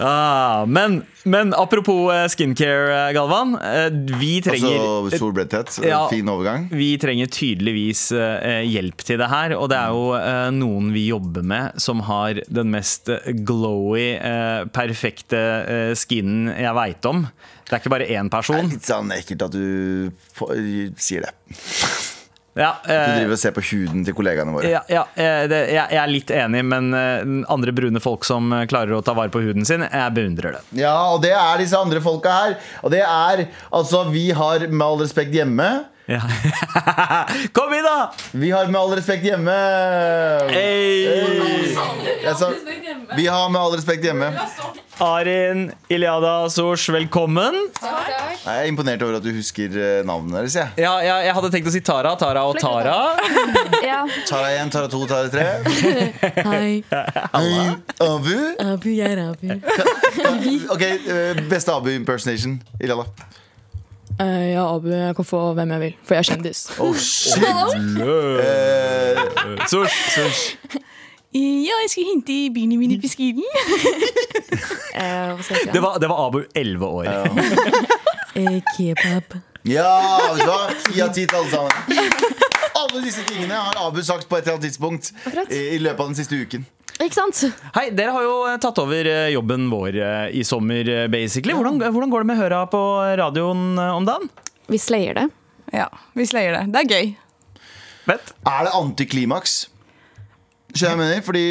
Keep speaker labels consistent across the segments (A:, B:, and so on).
A: Ah, men, men apropos eh, skincare, eh, Galvan. eh, Vi trenger
B: Altså solbrenthet,
A: Ja.
B: fin overgang
A: vi trenger tydeligvis eh, hjelp til det her, og det er jo eh, noen vi jobber med som har den mest eh, glowy, eh, perfekte eh, skinnen jeg veit om. Det er ikke bare én
B: Det er
A: person.
B: litt sånn ekkelt at du på, sier det
A: Ja,
B: Du
A: eh,
B: driver og ser på huden til kollegaene våre
A: ja, ja eh, det, jeg, jeg er litt enig, men eh, andre brune folk som eh, klarer å ta vare på huden sin, jeg beundrer det.
B: Ja, og det er disse andre folka her. Og det er Altså, vi har med all respekt hjemme.
A: Ja. Kom inn, da!
B: Vi har med all respekt hjemme.
A: Eh. Hey.
B: Jeg sa, vi har med all respekt hjemme.
A: Arin Iliada Sosh, velkommen.
B: Nei, Jeg er imponert over at du husker eh, navnene deres. jeg.
A: Ja, jeg, jeg hadde tenkt å si Tara, Tara og Tara.
C: Ja,
B: Tara 1, Tara 2, Tara 3.
D: Hei,
B: Abu.
D: Abu, jeg er Abu.
B: Ok, eh, Beste Abu impersonation. Ilala.
C: Eh, ja Abu, jeg kan få hvem jeg vil, for jeg er kjendis.
B: Oh, shit. Eh,
A: Sosh, Sosh.
C: Ja, jeg skal hente bilen min i beskiden.
D: Eh, hva skal jeg si?
A: Det, var, det var Abu, 11 år.
D: Eh, kebab.
B: ja, vet du hva? Ti av ti til alle sammen. Alle disse tingene har Abu sagt på et eller annet tidspunkt
C: Akkurat.
B: i i løpet av den siste uken.
C: Ikke sant?
A: Hei, dere har jo eh, tatt over eh, jobben vår eh, i sommer, eh, basically. Hvordan, hvordan går det med høra på radioen eh, om dagen?
C: Vi slayer det.
E: Ja, vi slayer det. Det er gøy.
A: Vent.
B: Er det antiklimaks? Skjønner jeg mener? Fordi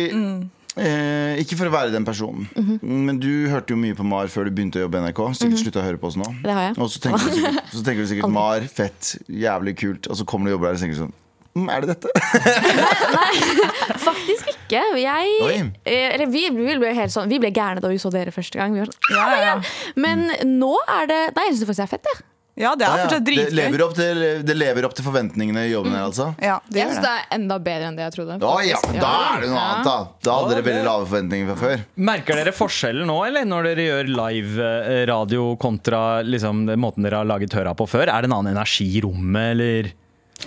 B: eh, Ikke for å være den personen, men du hørte jo mye på Mar før du begynte å jobbe i NRK. Sikkert slutta å høre på oss nå.
C: Det har jeg.
B: Og så tenker du sikkert, så tenker du sikkert Mar, fett, jævlig kult. Og så kommer du og jobber der og så tenker du sånn mm, Er det dette?
C: Faktisk ikke. Jeg,
B: Oi.
C: eh, eller vi, vi, ble helt sånn, vi ble gærne da vi så dere første gang. Vi var sånn,
E: Ja, ja, ja.
C: Men nå er det Nei, jeg syns faktisk det er fett, jeg.
E: Ja, det er fortsatt
B: det, lever
E: dritgøy.
B: opp til, det lever opp til forventningene i jobben her, altså?
E: Ja, det
C: Jeg
E: gjør
C: syns
E: det.
C: det er enda bedre enn det jeg trodde.
B: Å ja,
C: faktisk.
B: da er det noe
C: Ja.
B: annet, da. Da hadde
A: Ja,
B: dere veldig
A: det-
B: lave forventninger fra før.
A: Merker dere forskjellen nå, eller når dere gjør live eh, radio kontra liksom, den måten dere har laget høra på før? Er det en annen energi i rommet, eller?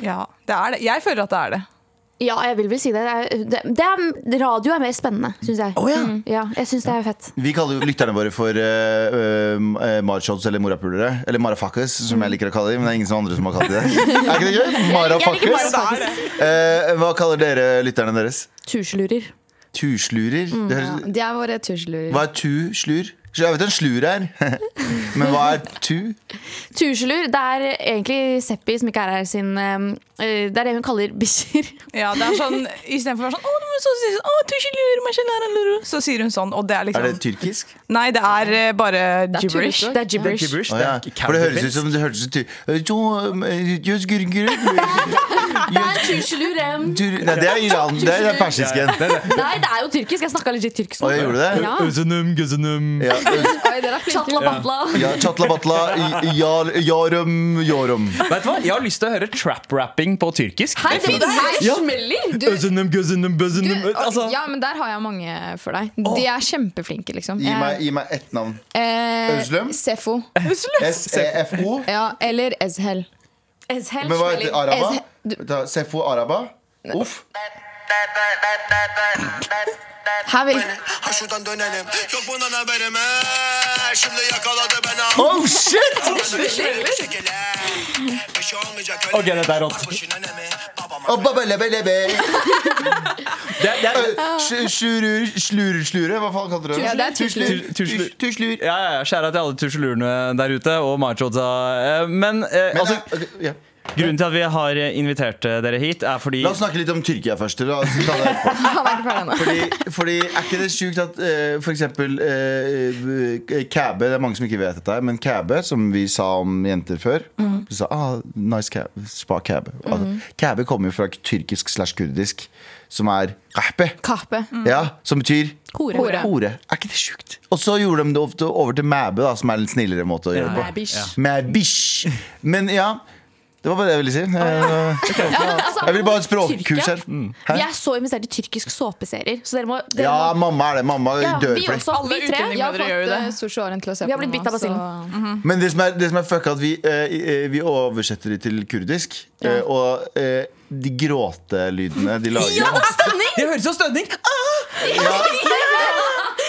E: Ja, det er det. Jeg føler at det er det.
F: Ja, jeg vil vel si det. Det er- det, det er, radio er mer spennende, syns jeg.
A: ja.
F: Mm, ja, jeg syns det er fett.
B: Vi kaller jo lytterne våre for uh, marshots eller morapulere. Eller marafakkes, som jeg liker å kalle dem. Men det er ingen som andre som har kalt dem det. Er ikke det gøy? Marafakkes.
E: Det er det.
B: Eh, hva kaller dere lytterne deres?
D: Tusjelurer.
B: Tuslurer? Det høres-
C: De er våre tusjelurer.
B: Hva er tuslur? Så Jeg vet en slur er, men hva er tu?
F: Tuselur, det er egentlig Seppi som ikke er her sin eh, Det er det hun kaller bikkjer.
E: Ja, det er sånn, Istedenfor å være sånn Å, nå må du så si sånn, å, du ikke lurer meg, kjenner jeg lurer», Så sier hun sånn, og det er
B: Er
E: liksom
B: det tyrkisk?
E: Nei, det er eh, bare gibberish.
F: Det er gibberish.
B: Å ja. For det høres ut som det høres ut ty- Jo, eh, jøs, gur, gur, gur.
F: Det er tuselurem.
B: Tur- Nei, det er Iran. Det er persisken.
F: Nei, det er jo tyrkisk. Jeg snakka legit tyrkisk
B: Å, jeg gjorde det?
F: Ja.
A: Uzenum, guzenum.
B: Ja, eh,
C: Oi, dere er flinke.
F: Chatla batla.
B: ja, Chatla batla, i- jar- jarum, jarum.
A: Vet du hva? Jeg har lyst til å høre trap-rapping på tyrkisk.
C: Hei, det her
A: Ja.
C: smeller! Du,
A: Uzenum, guzenum,
C: du,
A: buzenum altså,
C: Eh, ja, men der har jeg mange for deg. De er kjempeflinke, liksom.
B: Gi meg, gi meg ett navn.
C: Eh,
B: Özlem?
C: Sefo.
B: S-E-F-O.
C: Ja, eller Ezhel.
B: E Men hva Ah. heter araba?
C: Es- du-
B: Ta- Sefo E araba? Uff.
C: Her vil
G: Ha şuradan dönelim. Yok bundan haberim he. Şimdi yakaladı beni.
B: Oh shit!
G: Bir şey olmayacak
A: Ok, dette er rått.
G: Bak boşuna ne mi? Babama
B: Oh, ba- ba- le- be- le- be.
A: Det, det er,
B: Eh, sj- Sjurur, slurur, slure? Hva faen kaller du det?
C: Ja, det er tuslur.
B: Tuslur. Tus- Tuslur.
A: ja, ja, ja, Skjæra til alle tusjelurene der ute, og machotsa. Eh, Men, eh,
B: Men,
A: altså,
B: eh, ok, ja.
A: grunnen til at vi har eh, invitert eh, dere hit, er fordi
B: La oss snakke litt om Tyrkia først. La oss ta det etterpå.
C: Han er ikke ferdig ennå.
B: Fordi, fordi er ikke det sjukt at uh, for eksempel uh, Kæbe, det er mange som ikke vet dette her, men Kæbe, som vi sa om jenter før
C: Mm.
B: Vi sa ah, nice kæbe, spa Kæbe.
C: Mm-hmm.
B: Altså, kæbe kommer jo fra tyrkisk slash kurdisk, som er kahpe.
C: Kape. Mm.
B: Ja, som betyr
D: Hore.
C: Hore.
B: hore. Er ikke det sjukt? Og så gjorde de det ofte over til mæbe, da, som er en litt snillere måte å gjøre det på.
D: Mæbish.
B: Mæbish. Men ja, det var bare det jeg ville si. Jeg,
F: altså,
B: jeg vil bare ha et språkkurs her. Mm. Hæ?
F: Vi er så investert i tyrkiske såpeserier, så dere må, dere
B: Ja,
F: må
B: mamma er det. Mamma
F: ja,
B: dør
F: Vi
B: for det.
F: også,
E: Alle
F: vi tre.
C: Jeg har
E: Dere gjør jo
C: fått
E: det.
C: eh, sorte åren til å se
F: Vi
C: på
F: har
C: nå,
F: blitt bitt av basillen.
C: så-
B: Men det som er, det som er fucka, at vi, eh, eh, vi oversetter det til kurdisk. eh, og eh, de gråtelydene de lager
A: Det høres ut som stønning!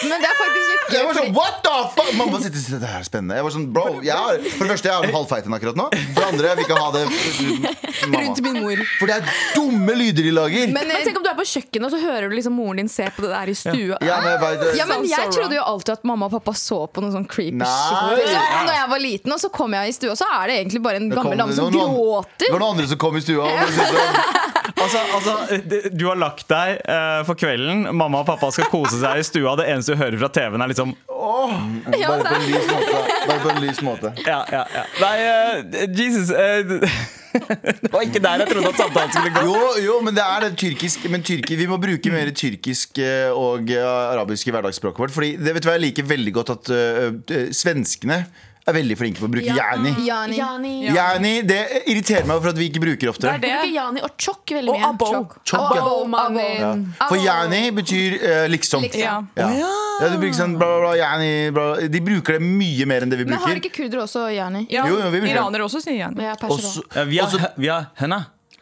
C: Men det er faktisk litt
B: Jeg
C: gøy.
B: var sånn, what the fuck Mamma sitter og sier det her er spennende. Jeg var sånn, bro, jeg har, For det første, jeg har halvfeiten akkurat nå. For det andre, jeg vil ikke ha det uten
C: Rundt
B: mamma.
C: min mor.
B: For det er dumme lyder de lager.
C: Men, eh,
F: Men tenk om du er på kjøkkenet, og så hører du liksom moren din se på det der i stua.
B: Ja, men jeg vet, eh,
C: ja,
E: Sånn
C: men
F: so
C: jeg
F: wrong.
C: trodde jo alltid at mamma og pappa så på noe sånn creepy
B: Nei.
C: shit. Ja, Når jeg var liten, og så kom jeg i stua, så er det egentlig bare en
B: det kom-
C: gammel dame
B: det var
C: som
B: noen- Det
C: gråter.
B: var noen andre som kom i stua. Og bare sånn, syntes det var-
A: Altså, altså, det- du har lagt deg eh, for kvelden. Mamma og pappa skal kose seg i stua. Det eneste du hører fra TV-en, er liksom
B: bare på en lys måte. Bare på en lys måte.
A: Ja, ja, ja. Nei, eh, Jesus eh, Det var ikke der jeg trodde at samtalen skulle gå.
B: Jo, jo, men det er det tyrkisk Men tyrki, vi må bruke mer tyrkisk eh, og eh, arabisk i hverdagsspråket vårt. Fordi det vet du hva, jeg liker veldig godt at eh, eh, svenskene er veldig flinke på å bruke jani.
C: Jani.
F: Jani.
B: Jani, det irriterer meg for at vi ikke bruker oftere.
F: Du bruker Jani og Chokk veldig
E: Og
F: mye.
E: abo.
B: Chokk, ja.
C: Abo, mannen.
B: Ja. For jani betyr eh, liksom.
C: Liksom.
E: Ja.
B: Ja. Ja, du bruker sånn bla, bla, bla, jani, bla. bla. De bruker det mye mer enn det vi
C: Men har
B: bruker.
C: ikke kurdere også jani?
E: Ja,
B: Jo, jo, vi vil det.
E: Iranere også sier igjen.
C: Ja,
B: Og
C: perser
B: så-
C: også.
A: Ja, vi har, vi har henda.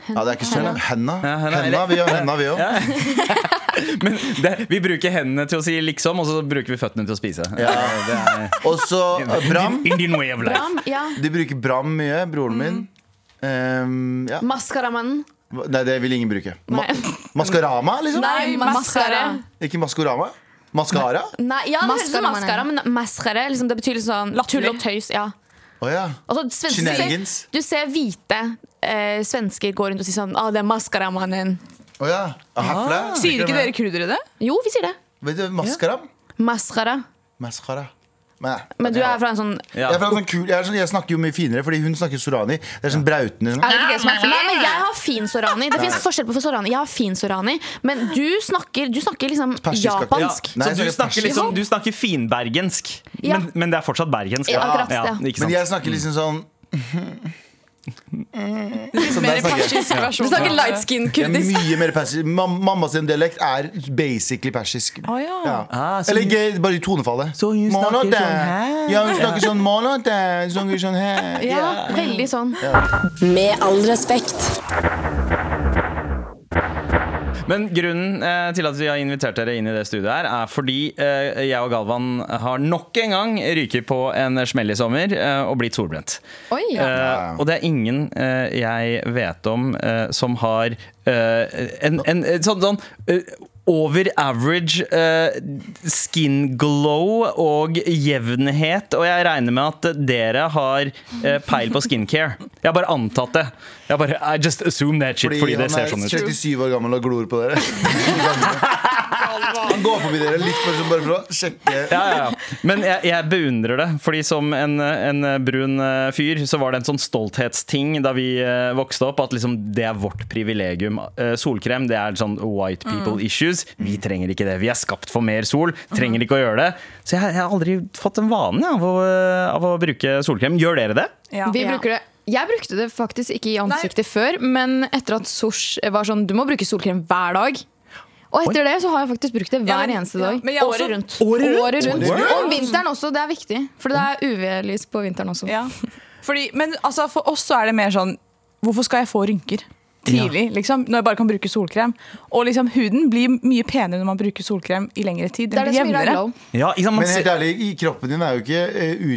B: ja, det er ikke sånn. Henda.
A: henda,
B: Henda, vi har henda, vi òg.
A: Men det, vi bruker hendene til å si liksom, og så bruker vi føttene til å spise.
B: Og så eh, Bram.
A: Indian way of life.
F: Bram, ja.
B: De bruker Bram mye, broren min. Ehm,
C: Mm.
B: ja.
F: Maskaramannen.
B: Nei, det vil ingen bruke. Ma
F: Nei.
B: maskarama, liksom?
F: Nei, maskara.
B: Ikke maskorama? Maskara?
F: Nei, ja, det høres ut som
C: Maskaramannen.
F: maskara, men maskare liksom, det betyr litt sånn tull og tøys. Ja.
B: Å ja.
F: Altså, svensker-
B: Shenanigans.
F: Du ser hvite eh, svensker gå rundt og si sånn Å, det er maskaramannen.
B: Å ja. Ah, Herfra.
E: Sier ikke dere kurdere det?
F: Jo, vi sier det.
B: Vet du, maskaram?
F: Maskara.
B: Maskara. Nei.
F: Men du er fra en sånn
B: Jeg, er
A: Ja.
B: fra en sånn kul, jeg, er sånn, jeg snakker jo mye finere, fordi hun snakker sorani. Det er sånn brautende
C: Er
B: sånn.
C: det ikke det som er
F: Nei,
C: fint?
F: men jeg har fin sorani. Det fins forskjell på sorani. Jeg har fin sorani, men du snakker, du snakker liksom
B: Persisk,
A: Ja,
F: japansk.
B: Nei,
A: så du
B: jeg snakker
A: snakker, liksom, du snakker finbergensk,
F: Ja.
A: men, men det er fortsatt bergensk.
F: Ja, akkurat det.
A: ikke
B: Men
A: sant?
B: jeg snakker liksom sånn
E: Litt mer
B: der snakker jeg.
E: persisk versjon.
F: Du snakker light skin
B: Det er
F: kurdisk.
B: mye mer persisk. Mam mamma sin dialekt er basically persisk.
E: Å, ja.
A: Ah, så
B: Eller
A: hun-
B: ikke, bare i tonefallet.
A: Så hun snakker
B: Månad, eh.
A: sånn her?
B: Ja, hun snakker sånn månad, eh, hun snakker sånn her.
F: Ja, veldig sånn.
H: Med all respekt.
A: Men grunnen eh, til at vi har invitert dere inn i det studioet her, er fordi eh, jeg og Galvan har nok en gang ryket på en smell i sommer eh, og blitt solbrent.
F: Oi.
A: Eh, og det er ingen eh, jeg vet om eh, som har eh, en, en, en sånn, sånn eh, over average eh, skin glow og jevnhet. Og jeg regner med at dere har eh, peil på skincare. Jeg har bare antatt det. Jeg har bare, I just assume that shit, fordi, det ser sånn
B: han
A: ut.
B: er 37 år gammel og glor på dere. Han går forbi dere litt for, bare for å sjekke.
A: ja, ja, ja. Men jeg, jeg beundrer det, fordi som en, en brun eh, fyr, så var det en sånn stolthetsting da vi eh, vokste opp, at liksom det er vårt privilegium. Eh, solkrem det er sånn white people issues. Vi trenger ikke det. Vi er skapt for mer sol. Trenger ikke å gjøre det. Så jeg, jeg har aldri fått en vane av å, eh, av å bruke solkrem. Gjør dere det?
E: Ja.
F: Vi
C: Vi
F: Ja.
C: bruker det. Jeg brukte det faktisk ikke i ansiktet før, men etter at Sosh var sånn Du må bruke solkrem hver dag. Og etter det så har jeg faktisk brukt det hver
E: Ja, men-
C: eneste
E: ja,
C: dag.
E: men jeg også-
F: Året rundt.
C: Året rundt.
B: rundt.
C: Om vinteren også, det er viktig. For det er UV-lys på vinteren også.
E: Ja. Fordi, men altså, for oss så er det mer sånn Hvorfor skal jeg få rynker? Tidlig, liksom, når jeg bare kan bruke solkrem. Og liksom, huden blir mye penere når man bruker solkrem i lengre tid.
C: Det
E: Den
C: er det
E: blir
C: som gir deg
E: jevnere.
C: glow.
A: Ja, ikke sant? Man
B: Men helt
A: ser-
B: ærlig, i kroppen din er jo ikke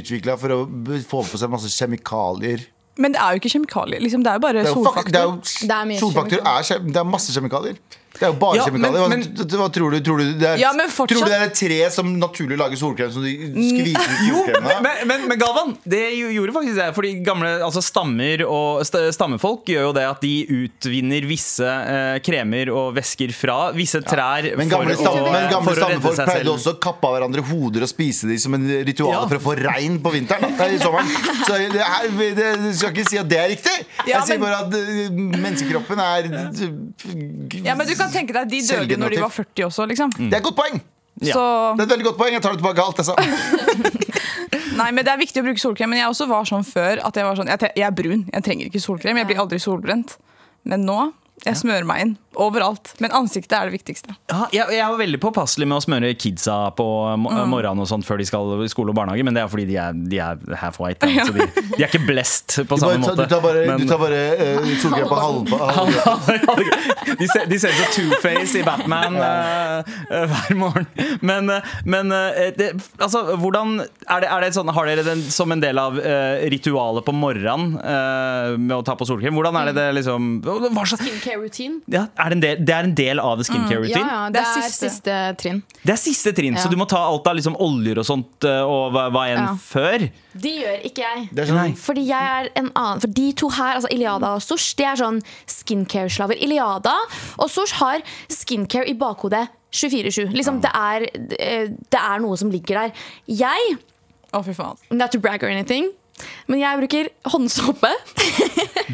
B: utvikla for å b- få på seg masse kjemikalier.
E: Men det er jo ikke kjemikalier. Liksom, det er jo bare
B: Det er jo, fuck, det er
E: solfaktor.
B: jo,
C: Det er mye
B: solfaktor er, kjem- det er masse kjemikalier. Det er jo bare
A: Ja, men-
B: kjemikalier. Hva,
A: men-
B: t- hva tror du? Tror du det er,
E: Ja, men fortsatt-
B: tror du det er et tre som naturlig lager solkrem, som de skviser ut
A: Jo, men,
B: solkremen av?
A: men, men, men Galvan, det jo- gjorde faktisk det. Fordi gamle altså stammer og st stammefolk gjør jo det at de utvinner visse eh, kremer og væsker fra visse trær
B: Men gamle,
A: for,
B: stamme,
A: å,
B: men gamle
A: for å redde
B: stammefolk
A: seg
B: pleide
A: selv.
B: også å kappe av hverandre hoder og spise de som en ritual
A: Ja.
B: for å få regn på vinteren. Da, i sommeren. Så det, er, det, det skal ikke si at det er riktig.
E: Ja,
B: Jeg sier
E: men-
B: bare at eh, menneskekroppen er eh,
E: Ja, men du kan tenke deg at de døde når de var 40 også, liksom.
B: Det er et godt poeng!
A: Ja.
E: Så
B: Det er et veldig godt poeng. Jeg tar det tilbake alt jeg sa.
E: Nei, men det er viktig å bruke solkrem. Men jeg også var sånn før at jeg var sånn Jeg, tre- jeg er brun, jeg trenger ikke solkrem. Jeg blir aldri solbrent. Men nå jeg smører meg inn overalt. Men ansiktet er det viktigste.
A: Ja, jeg, jeg er veldig påpasselig med å smøre kidsa på mo-
B: Mm.
A: morgenen og sånt før de skal i skole og barnehage, men det er fordi de er, de er half white. da, Så de, de er ikke blessed på
B: Du, bare,
A: samme måte.
B: du tar bare,
A: men-
B: du tar bare eh, solkrem på halv... halv-
A: de, ser, de ser ut som Two-Face i Batman eh, eh, hver morgen. Men, eh, men eh, det, altså, hvordan er det, er det sånn, Har dere den som en del av eh, ritualet på morgenen eh, med å ta på solkrem? Hvordan er det det liksom hva slags,
F: Skincare routine.
A: ja, er det, en del, det er en del av det skincare
C: Mm, Ja,
A: routine?
C: ja,
E: Det
C: det
E: er
C: er
E: siste.
C: siste trinn.
A: Det er siste trinn, så du må ta alt av liksom, oljer og sånt eh, og hva, hva enn
C: Ja.
A: før.
F: Det gjør ikke jeg.
B: Det er sånn,
F: Fordi jeg er en annen For de to her, altså Iliada og Sosh, de er sånn skincare-slaver. Iliada og Sosh har skincare i bakhodet 24-7. Liksom, det, er, eh, det er noe som ligger der. Jeg
E: Å, fy faen.
F: Not to brag or anything, men jeg bruker håndsåpe.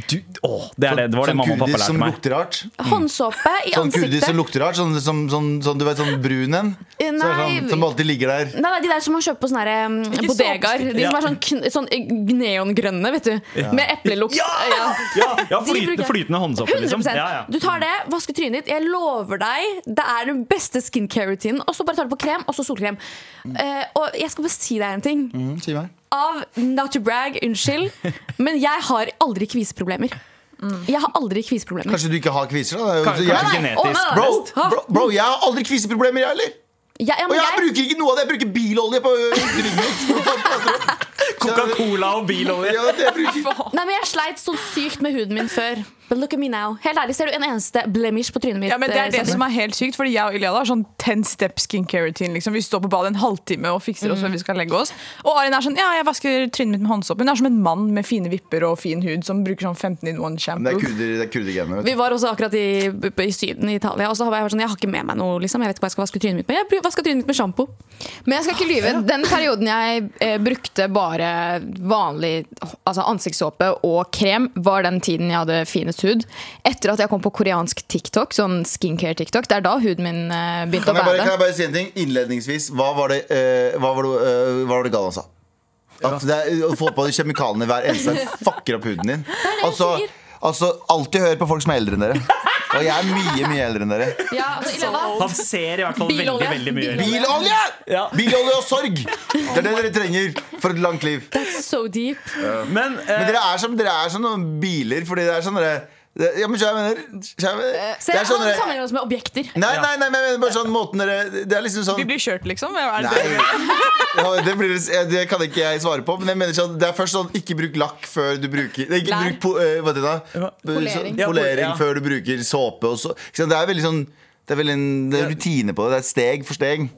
A: Du, å, det, er det, det var det mamma og pappa
B: kurdis sånn som
A: lærte meg.
B: lukter rart.
F: Håndsåpe i
B: Sånn kurdis
F: ansiktet.
B: som lukter rart. Sånn, sånn, sånn, sånn du vet, sånn brun en. Så er
F: Eh,
B: det
F: nei.
B: sånn, som alltid ligger der.
F: Nei, nei, De der som man kjøper på sånne her, um, bodegaer. De
A: Ja.
F: som er sånn, kn- sånn eh, neongrønne, vet du. Med eplelukt. Ja!
A: Ja, ja
F: De bruker
A: flytende,
F: jeg.
A: flytende håndsåpe, liksom.
F: 100%
A: Ja, ja.
F: Du tar det, vasker trynet ditt. Jeg lover deg, det er den beste skincare-rutinen. Og så bare tar du på krem, og så solkrem. Eh, og jeg skal bare si deg en ting.
B: Mm, si meg.
F: Av not to brag, unnskyld, men jeg har aldri kviseproblemer. Jeg har aldri kviseproblemer.
B: Kanskje du ikke har kviser? da? Det er jo-
A: Kanskje-
B: jeg-
A: kanskje
F: Nei, nei, å, nei,
A: genetisk.
F: nei.
B: Bro, bro, bro, jeg har aldri kviseproblemer, jeg heller.
F: Jeg, ja,
B: Og
F: men
B: jeg
F: jeg,
B: bruker ikke noe av det. Jeg bruker bilolje på ø, ryggen.
A: Coca-Cola og bilolje.
B: Ja, det bruker jeg.
F: nei, men jeg sleit så sykt med huden min før. But look at me now. Helt ærlig, ser du en eneste blemish på trynet mitt?
E: Ja, men Det
F: eh,
E: er det som
F: Sander?
E: er helt sykt, fordi jeg og Iliada har sånn 10 step skincare routine. Liksom. Vi står på badet en halvtime og fikser oss før vi skal legge oss. Og Arin er sånn Ja, jeg vasker trynet mitt med håndsåpe. Hun er som en mann med fine vipper og fin hud som bruker sånn 15 in
B: Men
E: one
B: Det er
E: shampoo.
B: kurder- det er kurdergenene. vet du.
F: Vi var også akkurat i, i Syden, i Italia, og så har jeg vært sånn Jeg har ikke med meg noe, liksom. Jeg vet ikke hva jeg skal vaske trynet mitt med. Jeg vasker trynet mitt med sjampo.
C: Men jeg skal ikke lyve. Den perioden jeg eh, brukte bare vanlig altså ansiktssåpe og krem, var den tiden jeg hadde finest hud. Etter at jeg kom på koreansk TikTok, sånn skincare-TikTok, det er da huden min eh, begynte
B: Kan
C: å
B: jeg, bare, kan
C: bade.
B: eh, jeg bare si en ting? Innledningsvis, hva var det, ø, hva var det, ø, hva var det Galvan sa? At det er, å få på de kjemikaliene hver eneste dag fucker opp huden din. Altså,
F: sier.
B: altså, alltid hør på folk som er eldre enn dere. Og jeg er mye, mye eldre enn dere.
C: Ja, altså, i
F: Ah.
C: lava.
A: Han ser i hvert fall
C: Bilolje.
A: veldig veldig mye eldre ut.
B: Bilolje!
A: Ja.
B: Bilolje og sorg! Det er det dere trenger for et langt liv.
D: So deep.
A: Men, eh,
B: Men dere er som, dere er som noen biler, fordi det er sånn dere det- Ja, men skjønner jeg mener? Skjønner jeg mener?
F: Eh, Se,
B: Det er sånn
F: han
B: dere
F: sammenligner oss med objekter.
B: Nei, nei, nei, men jeg mener bare sånn måten dere Det er liksom sånn
E: Vi blir kjørt, liksom. Er det det?
B: Nei, ja, det, blir, det kan ikke jeg svare på. Men jeg mener sånn, det er først sånn ikke bruk lakk før du bruker Nei, Ikke
C: Lær.
B: bruk po, eh, hva heter det da?
C: Polering.
B: Sånn,
A: Ja,
B: polering
A: ja.
B: før du bruker såpe. Og så. Ikke sant, Det er veldig sånn det er, veldig en, det er rutine på det. Det er steg for steg.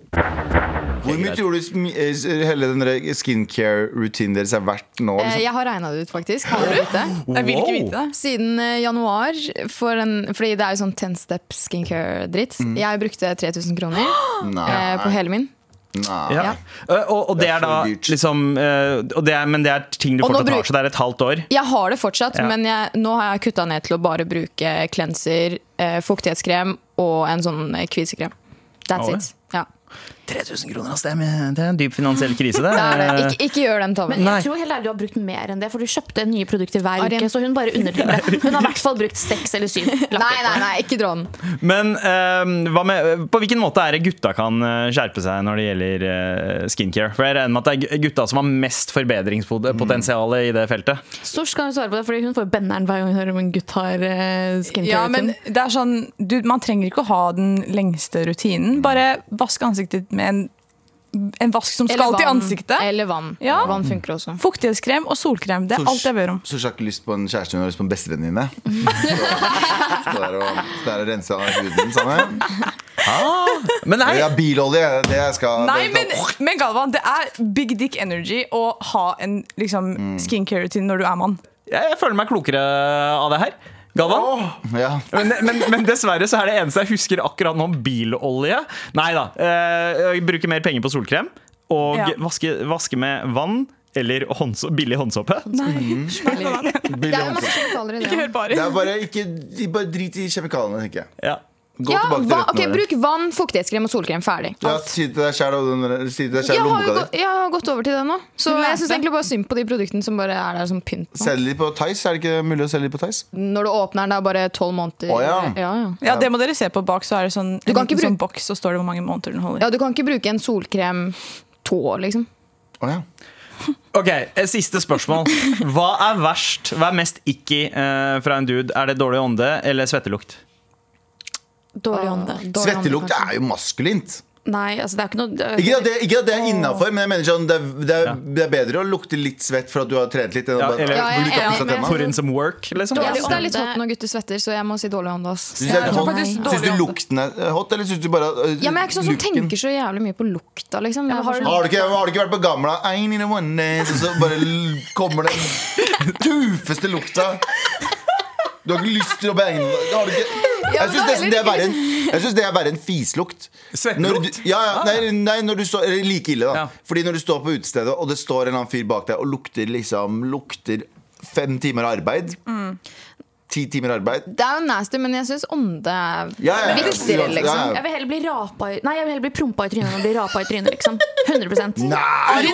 B: Hvor mye tror du smi- eh, s- hele den der skincare-rutinen deres er verdt nå?
C: Eh,
B: Liksom?
C: Jeg har regna det ut, faktisk. Har dere gjort det?
E: Jeg vil ikke
A: Wow.
E: vite det.
C: Siden eh, januar, for en, fordi det er jo sånn 10 step skincare-dritt.
B: Mm.
C: Jeg brukte 3000 kroner eh, på hele min.
B: Nei.
A: ja. Eh, Og, og det
B: Det er
A: er da
B: for dyrt.
A: liksom eh, og det er, Men det er ting du
C: Og nå
A: fortsatt
C: bruk-
A: har, så det er et halvt år.
C: Jeg har det fortsatt,
A: Ja.
C: men jeg, nå har jeg kutta ned til å bare bruke cleanser, eh, fuktighetskrem og en sånn eh, kvisekrem. That's
A: Oi.
C: it. Ja.
A: 3000 kroner, ass, det er med- det er en dyp finansiell krise, det.
C: Det er det. Ikke, ikke gjør den tabben.
F: Men
A: Nei.
F: jeg tror helt ærlig du har brukt mer enn det, for du kjøpte nye produkter hver
C: Arian.
F: uke. Så hun bare underdriver det. Hun har i hvert fall brukt seks eller syv. lapper
C: Nei,
F: på
C: nei,
F: det.
C: nei, ikke dra den.
A: Men eh, hva med, på hvilken måte er det gutta kan eh, skjerpe seg når det gjelder eh, skincare? For jeg regner med at det er gutta som har mest forbedringspotensial i det feltet.
F: Sosh kan jo svare på det, fordi hun får jo benneren hver gang hun hører om en gutt har eh, skincare.
E: Ja, men det er sånn, du, Man trenger ikke å ha den lengste rutinen.
B: Mm.
E: Bare vask ansiktet med en, en vask som skal til ansiktet.
C: Eller vann.
E: Ja.
C: Vann funker også.
E: Fuktighetskrem og solkrem. Det er alt jeg ber om.
B: Så du har ikke lyst på en kjæreste, hun har lyst på en bestevenn dine. Så, så det er å, så det er å rense av huden sammen.
A: Men nei,
B: Ah. Ja, bilolje, det jeg skal
E: Nei,
B: bare
E: men,
B: ta-
E: men Galvan, det er big dick energy å ha en liksom,
B: Mm.
E: skincare-rutine når du er mann.
A: jeg, jeg føler meg klokere av det her. Galvan?
B: ja.
A: Men, men, men dessverre så er det eneste jeg husker akkurat nå, bilolje. Nei da. Eh, bruke mer penger på solkrem. Og
E: Ja.
A: vaske, vaske med vann eller håndså, billig håndsåpe.
B: Billig
C: Det er jo
B: håndsopp.
C: masse kjemikalier i
E: Ikke
C: det.
E: hør på
B: Det
E: Ari.
B: er bare, ikke, de bare drit i kjemikaliene, tenker jeg.
A: Ja.
B: Gå
C: Ja,
B: tilbake til
C: va,
B: røttene.
C: ok,
B: våre.
C: bruk vann, fuktighetskrem og solkrem. Ferdig.
B: ja, si det til deg sjæl og den- si det til deg
C: Jeg
B: sjæl i
C: har, jo
B: lommeboka
C: gått,
B: di.
C: jeg har gått over til det nå. Så
E: lærte.
C: jeg syns egentlig bare synd på de produktene som bare er der som pynt. nå.
B: Selg de på Theis, er det ikke mulig å selge de på Theis?
C: Når du åpner den, det er bare tolv måneder.
B: Å, ja.
C: Ja, ja.
E: Ja, det må dere se på bak. Så er det sånn,
C: Du
E: en
C: kan ikke
E: liten sånn
C: bruke-
E: boks, så står det hvor mange måneder den holder.
C: Ja, du kan ikke bruke en solkrem to år, liksom.
B: Å ja.
A: Ok, eh, Siste spørsmål. Hva er verst? Hva er mest icky eh, fra en dude? Er det dårlig ånde eller svettelukt?
F: Dårlig ånde.
C: Dårlig ånde,
B: Svettelukt
C: kanskje.
B: er jo maskulint.
F: Nei, altså det er ikke noe det er-
B: Ikke at det, ikke at det er innafor, men jeg mener sånn, det er, det, er,
A: Ja.
B: det er bedre å lukte litt svett for at du har trent litt. Enn å
A: Ja,
B: bare,
A: eller- Ja,
C: jeg er
B: bli tatt
C: enig
B: i
C: med-
A: Put in some work, liksom?
C: Jeg
F: Dårlig
C: syns det er litt
F: ånde.
C: hot når gutter svetter, så jeg må si dårlig ånde. ass.
B: Syns
E: Jeg tror faktisk
B: du,
E: dårlig
B: du
E: ånde.
B: lukten er hot, eller syns du bare øh,
C: Ja, men Jeg er ikke sånn som
B: looken?
C: tenker så jævlig mye på lukta, liksom. Jeg er bare sånn-
B: har du, ikke, har du ikke vært på gamla I need a one dance, og så bare l- kommer den tøffeste lukta? Du har ikke lyst til å bange har du ikke, Jeg syns nesten det er verre enn Jeg synes det er verre enn fislukt. Når du,
A: Svettelukt? Ah.
B: ja, ja, nei, nei, når du står eller Like ille, da.
A: Ja.
B: Fordi når du står på utestedet, og det står en eller annen fyr bak deg og lukter liksom Lukter fem timer arbeid.
C: Mm.
B: Ti timer arbeid.
C: Det er jo nasty, men jeg syns ånde er
B: Ja, ja, ja.
C: viktigere, liksom.
B: Ja, ja.
F: Jeg vil heller bli rapa i Nei, jeg vil heller bli prompa i trynet enn å bli rapa i trynet, liksom. 100
B: Nei!
E: Ari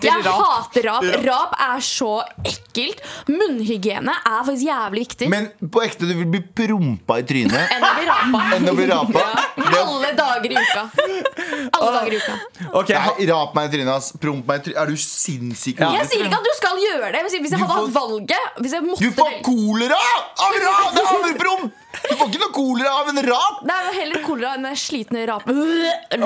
F: Jeg
E: hater rap.
F: hater rap. Rap er så ekkelt. Munnhygiene er faktisk jævlig viktig.
B: Men på ekte, du vil bli prompa i trynet
F: enn å bli rapa.
B: enn å bli rapa. Det-
F: Alle dager i uka.
B: Ah.
F: Alle dager i uka.
A: Ok, ha-
B: Nei, rap meg i trynet, ass. Promp meg i trynet. Er du sinnssyk?
A: Ja.
F: Jeg sier ikke at du skal gjøre det. men Hvis jeg
B: Du
F: hadde
B: får-
F: hatt valget Hvis jeg måtte
B: Du får
F: velge-
B: kolera av rap! Det er overpromp! Du får ikke noe kolera av en rap!
F: Det er jo heller kolera enn den slitne Øh,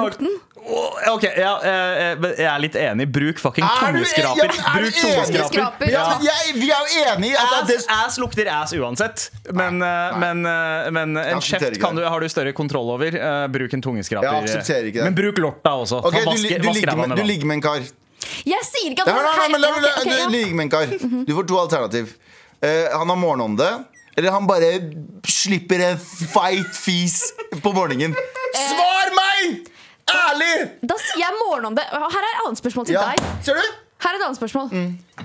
F: rapen.
A: Åh, ok, ja, eh, eh, men jeg er litt enig. Bruk fucking
B: Er du- e- ja,
A: toneskraper.
B: men er du
A: Bruk
B: enig?
A: toneskraper.
B: Ja. men Jeg, vi er jo enige i at det
A: Ass, ass lukter ass uansett. Men, eh, men, eh, men en
B: aksepterer
A: kjeft
B: ikke
A: kan
B: det.
A: du, har du større kontroll over. Eh, bruk en tungeskraper.
B: Jeg aksepterer ikke det.
A: Men bruk lorta også.
B: Ok,
A: Ta
B: du,
A: vaske-
B: li- du,
A: vask
B: ligger
A: ræva
B: med, du
A: vann.
B: ligger med en kar.
F: Jeg sier ikke at
B: Nei, nei, nei, men la-
F: Ok,
B: la-
F: ok,
B: Du
F: ja. Mhm.
B: ligger med en kar. Du får to alternativ. Eh, han har morgenånde, eller han bare slipper en feit fis på morgenen.
F: Eh.
B: Svar meg! Ærlig!
F: Da sier jeg morgenånde. Og Her er et annet spørsmål til
B: Ja.
F: deg.
B: Ser du? Mm.
F: Her er et annet spørsmål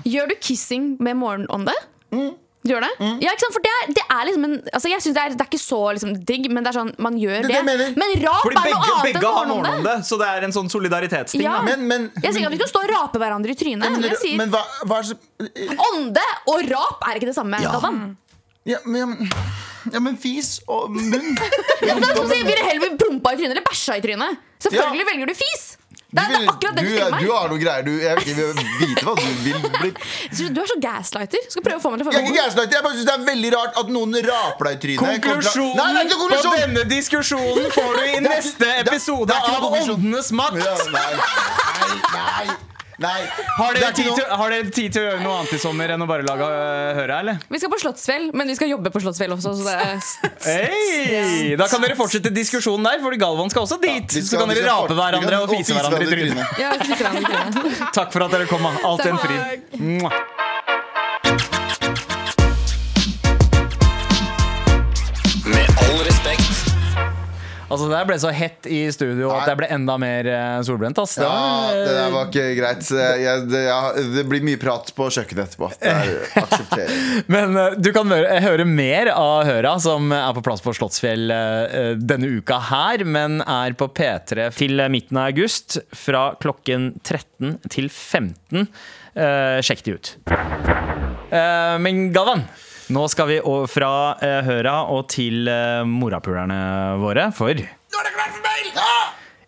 F: Gjør du kissing med morgenånde? Du gjør det?
B: Mm.
F: Ja, ikke sant? For det er, det er liksom en altså jeg synes det, er, det er ikke så liksom, digg, men det er sånn, man gjør
B: er
F: det.
B: det jeg mener.
F: Men rap
A: Fordi
F: er noe
A: begge,
F: annet enn
A: begge har
F: noen
A: noen om
F: det.
A: det, så det er en sånn solidaritetsting.
F: Ja.
A: da.
B: Men, men,
F: Jeg sier ikke at vi skal stå og rape hverandre i trynet. Men
B: men,
F: jeg sier
B: men hva, hva er det som
F: ånde og rap er ikke det samme.
B: Ja. Mm.
F: Galvan.
B: ja, men, ja, men- ja, men fis og munn
F: Ja, men det er sånn som å si, Vil du heller bli prompa i trynet eller bæsja i trynet? Selvfølgelig
B: Ja.
F: velger du fis! Det er, det er akkurat det du
B: du,
F: stiller meg.
B: du har noen greier du, Jeg vil ikke jeg vil vite hva du vil bli
F: Så Du er så gaslighter. Skal prøve å få meg til å
B: Jeg er ikke
F: føle meg
B: gaslighter, jeg bare synes det er veldig rart at noen raper deg i trynet Jeg kommer til å-
A: Konklusjonen
B: Nei, det er ikke
A: på
B: konklusjon
A: denne diskusjonen får du i
B: Det er-
A: neste
B: det er-
A: episode
B: det er ikke
A: av
B: noe konklusjon.
A: Åndenes
B: ja,
A: makt.
B: Nei, nei, nei, nei.
A: Har
B: Det er
A: dere,
B: ikke
A: tid
B: noe-
A: til, har dere tid til å gjøre noe annet i sommer enn å bare lage øh, høre, eller?
F: Vi skal på Slottsfjell, men vi skal jobbe på Slottsfjell også. Så det
A: Hey! Da kan dere fortsette diskusjonen der, for Galvan skal også dit.
B: Vi
A: så
B: skal-
A: kan
B: vi
A: dere
B: skal
A: rape
B: fort- vi
A: hverandre
B: kan-
A: og fise hverandre i trynet.
F: ja, vi skal ikke være med.
A: Takk for at dere kom. Alt en fryd. Mwah.
I: Med all respekt.
A: Altså, det der ble så hett i studio at jeg ble enda mer eh, solbrent. Ass. Det
B: Ja,
A: var,
B: det der var ikke greit jeg, det, jeg, det blir mye prat på kjøkkenet etterpå Det er- aksepterer jeg.
A: Men eh, du kan høre, høre mer av Høra, som er på plass på Slottsfjell eh, denne uka her, men er på P3 til eh, midten av august fra klokken 13 til 15. Eh, sjekk de ut. Eh, men Galvan, nå skal vi over fra eh, Høra og til eh, morapulerne våre, for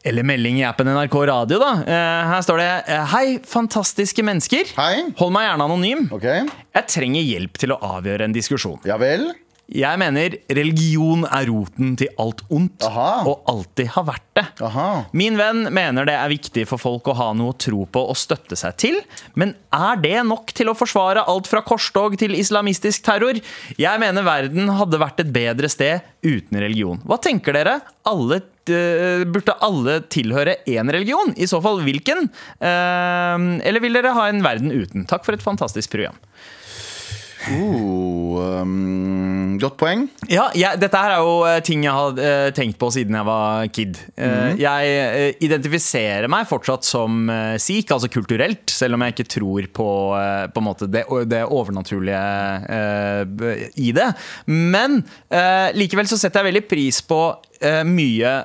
A: eller melding i appen NRK Radio, da. Eh, her står det eh, Hei, fantastiske mennesker.
B: Hei.
A: Hold meg gjerne anonym.
B: Ok,
A: Jeg trenger hjelp til å avgjøre en diskusjon.
B: ja vel
A: Jeg mener religion er roten til alt ondt,
B: Aha.
A: og alltid har vært det.
B: Aha.
A: Min venn mener det er viktig for folk å ha noe å tro på og støtte seg til, men er det nok til å forsvare alt fra korstog til islamistisk terror? Jeg mener verden hadde vært et bedre sted uten religion. Hva tenker dere? Alle, eh, burde alle tilhøre én religion? I så fall hvilken? Eh, eller vil dere ha en verden uten? Takk for et fantastisk program.
B: oh, um, Godt poeng
A: Ja, jeg, Dette her er jo eh, ting jeg har eh, tenkt på siden jeg var kid. Eh, Jeg eh, identifiserer meg fortsatt som eh, sikh, altså kulturelt, selv om jeg ikke tror på, eh, på en måte det, det overnaturlige eh, b- i det. Men eh, likevel så setter jeg veldig pris på eh, mye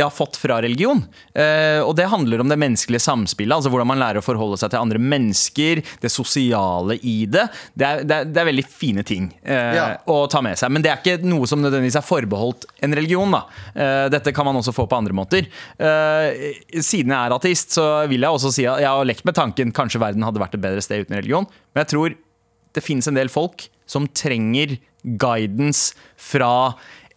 A: jeg har fått fra religion. Eh, og det handler om det menneskelige samspillet. altså Hvordan man lærer å forholde seg til andre mennesker, det sosiale i det. Det er, det er, det er veldig fine ting eh,
B: Ja.
A: å ta med seg. Men det er ikke noe som nødvendigvis er forbeholdt en religion. da. Eh, dette kan man også få på andre måter. Eh, siden jeg er ateist, så vil jeg også si at jeg har lekt med tanken kanskje verden hadde vært et bedre sted uten religion. Men jeg tror det finnes en del folk som trenger guidance fra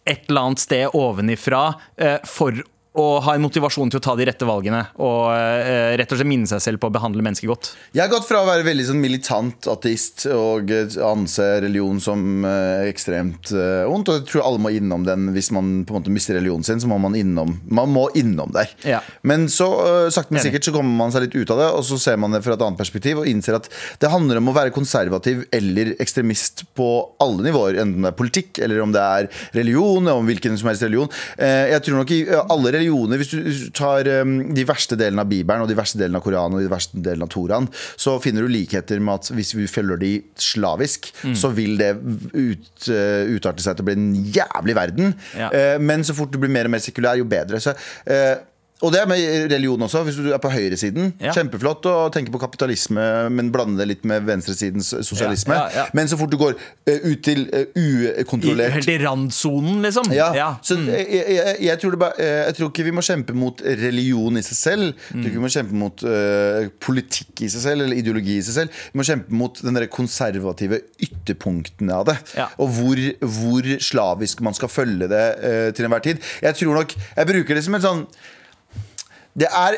A: et eller annet sted ovenifra eh, for å ha en motivasjon til å ta de rette valgene og eh, rett og slett minne seg selv på å behandle mennesker godt.
B: Jeg har gått fra å være veldig sånn militant ateist og eh, anse religion som eh, ekstremt eh, ondt. Og jeg tror alle må innom den hvis man på en måte mister religionen sin. Så må man innom, man må innom der.
A: Ja.
B: Men så eh, sakte, men
A: Enig.
B: sikkert så kommer man seg litt ut av det, og så ser man det fra et annet perspektiv og innser at det handler om å være konservativ eller ekstremist på alle nivåer. Enten det er politikk, eller om det er religion, om hvilken som helst religion. Eh, Jeg tror nok i eh, alle religioner Hvis du hvis du tar eh, de verste delene av Bibelen og de verste delene av Koranen og de verste delene av Toraen, så finner du likheter med at hvis vi følger de slavisk,
A: Mm.
B: så vil det ut, eh, utarte seg til å bli en jævlig verden.
A: Ja.
B: Eh, Men så fort du blir mer og mer sekulær, jo bedre. Så, eh, og det er med religion også, hvis du er på høyresiden.
A: Ja.
B: Kjempeflott å tenke på kapitalisme, men blande det litt med venstresidens sosialisme.
A: Ja, ja, ja.
B: Men så fort du går eh, ut til eh,
A: I,
B: ukontrollert
A: helt i randsonen, liksom.
B: ja.
A: Ja.
B: Så jeg, jeg, jeg, tror det bare, eh, jeg tror ikke vi må kjempe mot religion i seg selv. Jeg
A: Mm.
B: tror ikke vi må kjempe mot eh, politikk i seg selv eller ideologi i seg selv. Vi må kjempe mot den der konservative ytterpunktene av det.
A: Ja.
B: Og hvor, hvor slavisk man skal følge det eh, til enhver tid. Jeg tror nok Jeg bruker det som en sånn det er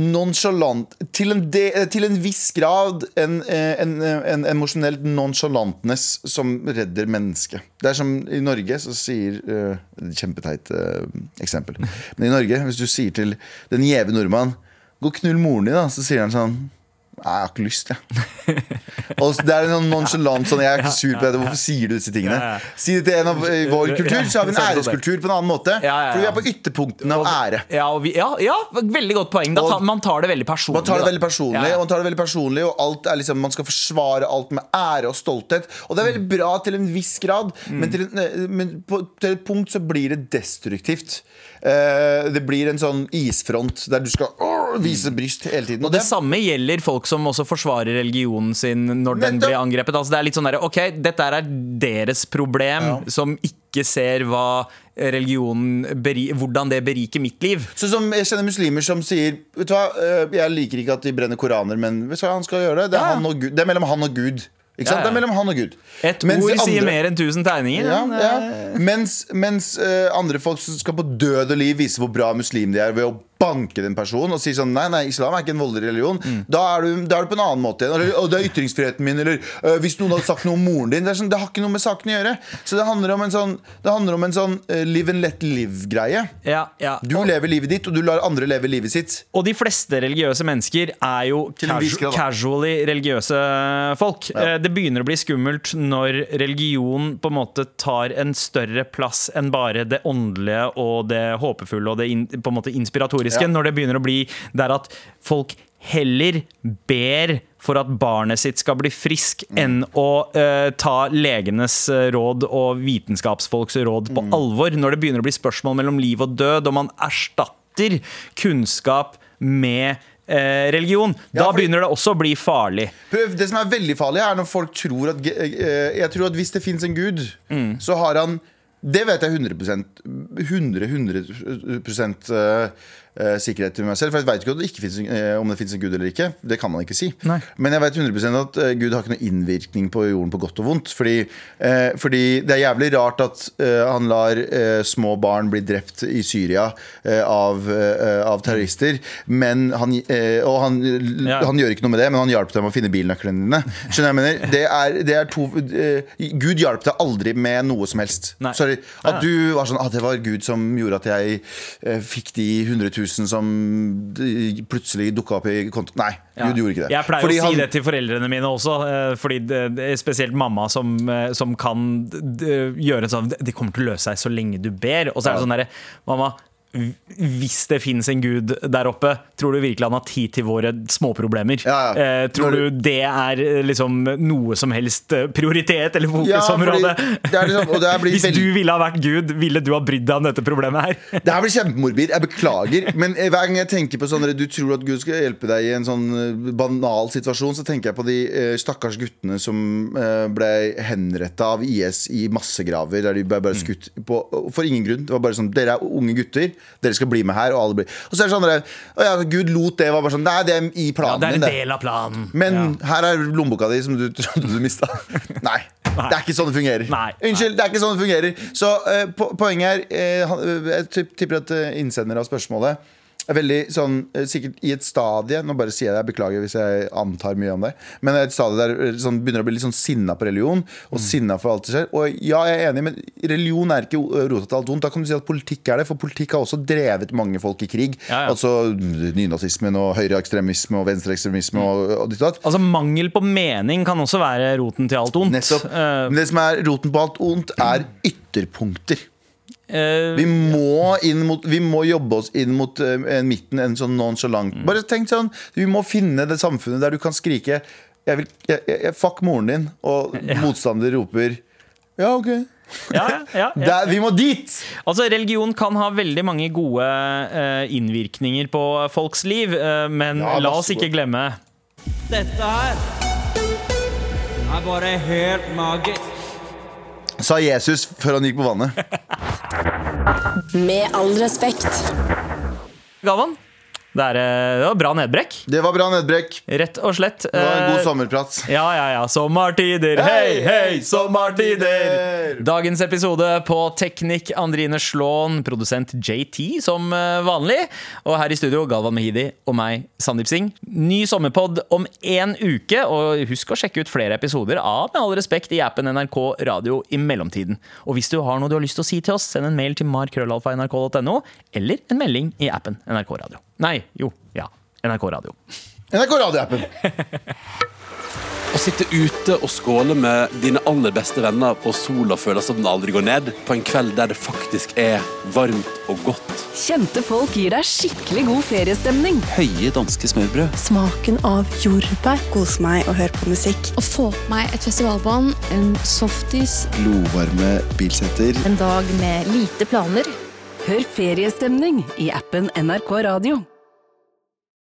B: nonchalant Til en, de, eh, til en viss grad en, eh, en, en emosjonell nonchalantness som redder mennesket. Det er som i Norge så sier eh, Kjempeteit eh, eksempel. Men i Norge, hvis du sier til den gjeve nordmann Gå og knull moren din, da. Så sier han sånn Nei, jeg har ikke lyst, jeg. Og så- det er en sånn nonchalant sånn Jeg er ikke sur på dette, hvorfor sier du disse
A: Ja, ja.
B: tingene? Si det til en av eh, vår kultur, så har vi en
A: Ja, sant det.
B: æreskultur på en annen måte.
A: Ja, ja, ja.
B: For vi er på ytterpunktene av ære.
A: Ja, og vi, ja, ja, veldig godt poeng. Da
B: Og-
A: tar, man tar det veldig personlig.
B: Man tar det
A: da.
B: veldig personlig,
A: Ja,
B: og
A: ja.
B: man tar det veldig personlig Og alt er liksom, man skal forsvare alt med ære og stolthet. Og det er
A: Mm.
B: veldig bra til en viss grad, men, til, en, eh, men på, til et punkt så blir det destruktivt. Eh, det blir en sånn isfront der du skal åh, vise bryst hele tiden. Og
A: Mm. Det
B: det,
A: samme gjelder folk som også forsvarer religionen sin når den
B: Nettopp.
A: blir angrepet. Altså det er litt sånn der, ok, Dette er deres problem,
B: Ja.
A: som ikke ser hva religionen beri, hvordan det beriker mitt liv.
B: Sånn som Jeg kjenner muslimer som sier Vet du hva, eh, jeg liker ikke at de brenner koraner, men hvis han skal gjøre det, det er,
A: Ja.
B: han og Gud, det er mellom han og Gud. Ikke sant?
A: Ja, ja.
B: Det er mellom han og Gud.
A: Et
B: Mens de
A: ord sier
B: andre-
A: mer enn tusen tegninger.
B: Ja,
A: men,
B: ja.
A: eh,
B: Mens, mens eh, andre folk som skal på død og liv vise hvor bra muslim de er ved å banke den personen og si sånn Nei, nei, islam er ikke en voldelig religion. Da, er du, da er du på en annen måte igjen. Eller «Å, det er ytringsfriheten min. Eller «Øh, hvis noen hadde sagt noe om moren din. Det, er sånn, det har ikke noe med saken å gjøre. Så det handler om en sånn, det handler om en sånn eh, live and let live-greie.
A: ja, ja.
B: Du lever livet ditt, og du lar andre leve livet sitt.
A: Og de fleste religiøse mennesker er jo
B: Til en
A: casu-
B: viss grad, da.
A: casually religiøse folk. Eh, Det begynner å bli skummelt når religion på en måte tar en større plass enn bare det åndelige og det håpefulle og det in, på en måte inspiratoriske.
B: Ja.
A: Når det begynner å bli der at folk heller ber for at barnet sitt skal bli frisk,
B: Mm.
A: enn å eh, ta legenes eh, råd og vitenskapsfolks råd
B: Mm.
A: på alvor. Når det begynner å bli spørsmål mellom liv og død, og man erstatter kunnskap med eh, religion, da
B: Ja, fordi-
A: begynner det også å bli farlig.
B: Prøv, Det som er veldig farlig, er når folk tror at eh, eh, Jeg tror at hvis det fins en gud,
A: Mm.
B: så har han Det vet jeg 100 100, 100% eh, eh, sikkerhet til meg selv. For jeg veit ikke om det, ikke finnes, en- eh, om det finnes en gud eller ikke. Det kan man ikke si.
A: Nei.
B: Men jeg vet 100 at eh, Gud har ikke noen innvirkning på jorden på godt og vondt. Fordi, eh, fordi det er jævlig rart at eh, han lar eh, små barn bli drept i Syria eh, av, eh, av terrorister. Men han, eh, og han,
A: Ja.
B: han gjør ikke noe med det, men han hjalp dem å finne bilnøklene dine. Skjønner jeg mener? Det er, det er to, eh, Gud hjalp deg aldri med noe som helst.
A: Nei.
B: Sorry. At du var sånn ah, det var Gud som gjorde at jeg eh, fikk de 100 000 som eh, plutselig dukka opp i kontoen. Nei,
A: Ja.
B: Gud gjorde ikke det.
A: Jeg pleier
B: Fordi
A: å si
B: han-
A: det til foreldrene mine også, eh, fordi det, det er spesielt mamma som, eh, som kan eh, gjøre en sånn Det kommer til å løse seg så lenge du ber. Og så er det
B: Ja.
A: sånn derre Mamma, hvis det fins en gud der oppe, tror du virkelig han har tid til våre småproblemer?
B: Ja, ja.
A: Eh, tror
B: Når
A: du det er eh, liksom noe som helst eh, prioritet eller
B: Ja, fordi
A: fokusområde?
B: det er liksom- og det her blir
A: hvis
B: veldig-
A: du ville ha vært gud, ville du ha brydd deg om dette problemet her?
B: Det her blir kjempemorbid, jeg beklager. Men eh, hver gang jeg tenker på sånn du tror at Gud skal hjelpe deg i en sånn eh, banal situasjon, så tenker jeg på de eh, stakkars guttene som eh, ble henretta av IS i massegraver. Der de ble
A: Mm.
B: bare skutt på, for ingen grunn. Det var bare sånn Dere er unge gutter, dere skal bli med her. Og alle blir Og så er det sånn der, Å ja, Gud lot det. Var bare sånn Nei, det er i
A: Ja,
B: planen
A: det er en
B: din, det.
A: del av planen.
B: Men
A: ja.
B: her er lommeboka di som du trodde du mista. Nei.
A: Nei.
B: Det er ikke sånn det fungerer.
A: Nei.
B: Unnskyld, det er ikke sånn det fungerer. Så eh, po poenget er eh, han- eh, Jeg tipp- tipper at eh, innsender av spørsmålet er veldig sånn eh, Sikkert i et stadie Nå bare sier jeg det, jeg beklager hvis jeg antar mye om det. Men et stadie der eh, sånn, begynner å bli litt sånn sinna på religion,
A: Mm.
B: og sinna for alt som skjer. Og ja, jeg er enig, men religion er ikke eh, rota til alt vondt. Da kan du si at politikk er det, for politikk har også drevet mange folk i krig.
A: Ja, ja.
B: Altså nynazismen og høyreekstremisme og venstreekstremisme og, og ditt og datt.
A: Altså Mangel på mening kan også være roten til alt ondt.
B: Nettopp.
A: Eh,
B: Men det som er roten på alt ondt, er ytterpunkter.
A: eh,
B: Vi må, inn mot, vi må jobbe oss inn mot eh, en midten, en sånn nonchalant.
A: Mm.
B: Bare tenk sånn, Vi må finne det samfunnet der du kan skrike jeg vil, jeg, jeg, jeg- Fuck moren din, og motstander roper Ja, OK.
A: ja, ja, ja.
B: Der, vi må dit!
A: Altså, religion kan ha veldig mange gode eh, innvirkninger på folks liv, eh, men
B: Ja,
A: la
B: masse
A: oss ikke
B: gode.
A: glemme
J: Dette her er bare helt magisk.
B: Sa Jesus før han gikk på vannet.
H: Med all respekt.
A: Galvan. Det, er, eh, det var bra nedbrekk,
B: Det var bra nedbrekk.
A: rett og slett.
B: Det var en
A: Eh,
B: god sommerprat.
A: Ja, ja, ja. Sommertider, hei, hei, sommertider! Dagens episode på Teknikk Andrine Slåen, produsent JT som eh, vanlig. Og her i studio Galvan Mehidi og meg, Sandeep Singh. Ny sommerpod om én uke. Og husk å sjekke ut flere episoder av Med all respekt i appen NRK Radio i mellomtiden. Og hvis du har noe du har lyst til å si til oss, send en mail til markrøllalfa.nrk.no, eller en melding i appen NRK Radio. Nei, jo, ja. NRK Radio.
B: NRK radioappen.
K: Å sitte ute og skåle med dine aller beste venner og sola føles som den aldri går ned, på en kveld der det faktisk er varmt og godt.
L: Kjente folk gir deg skikkelig god feriestemning.
K: Høye danske smørbrød.
L: Smaken av jordbær. Kos meg og hør på musikk.
F: Å få på meg et festivalbånd, en softis
M: Glovarme bilsetter.
L: En dag med lite planer. Hør feriestemning i appen NRK Radio.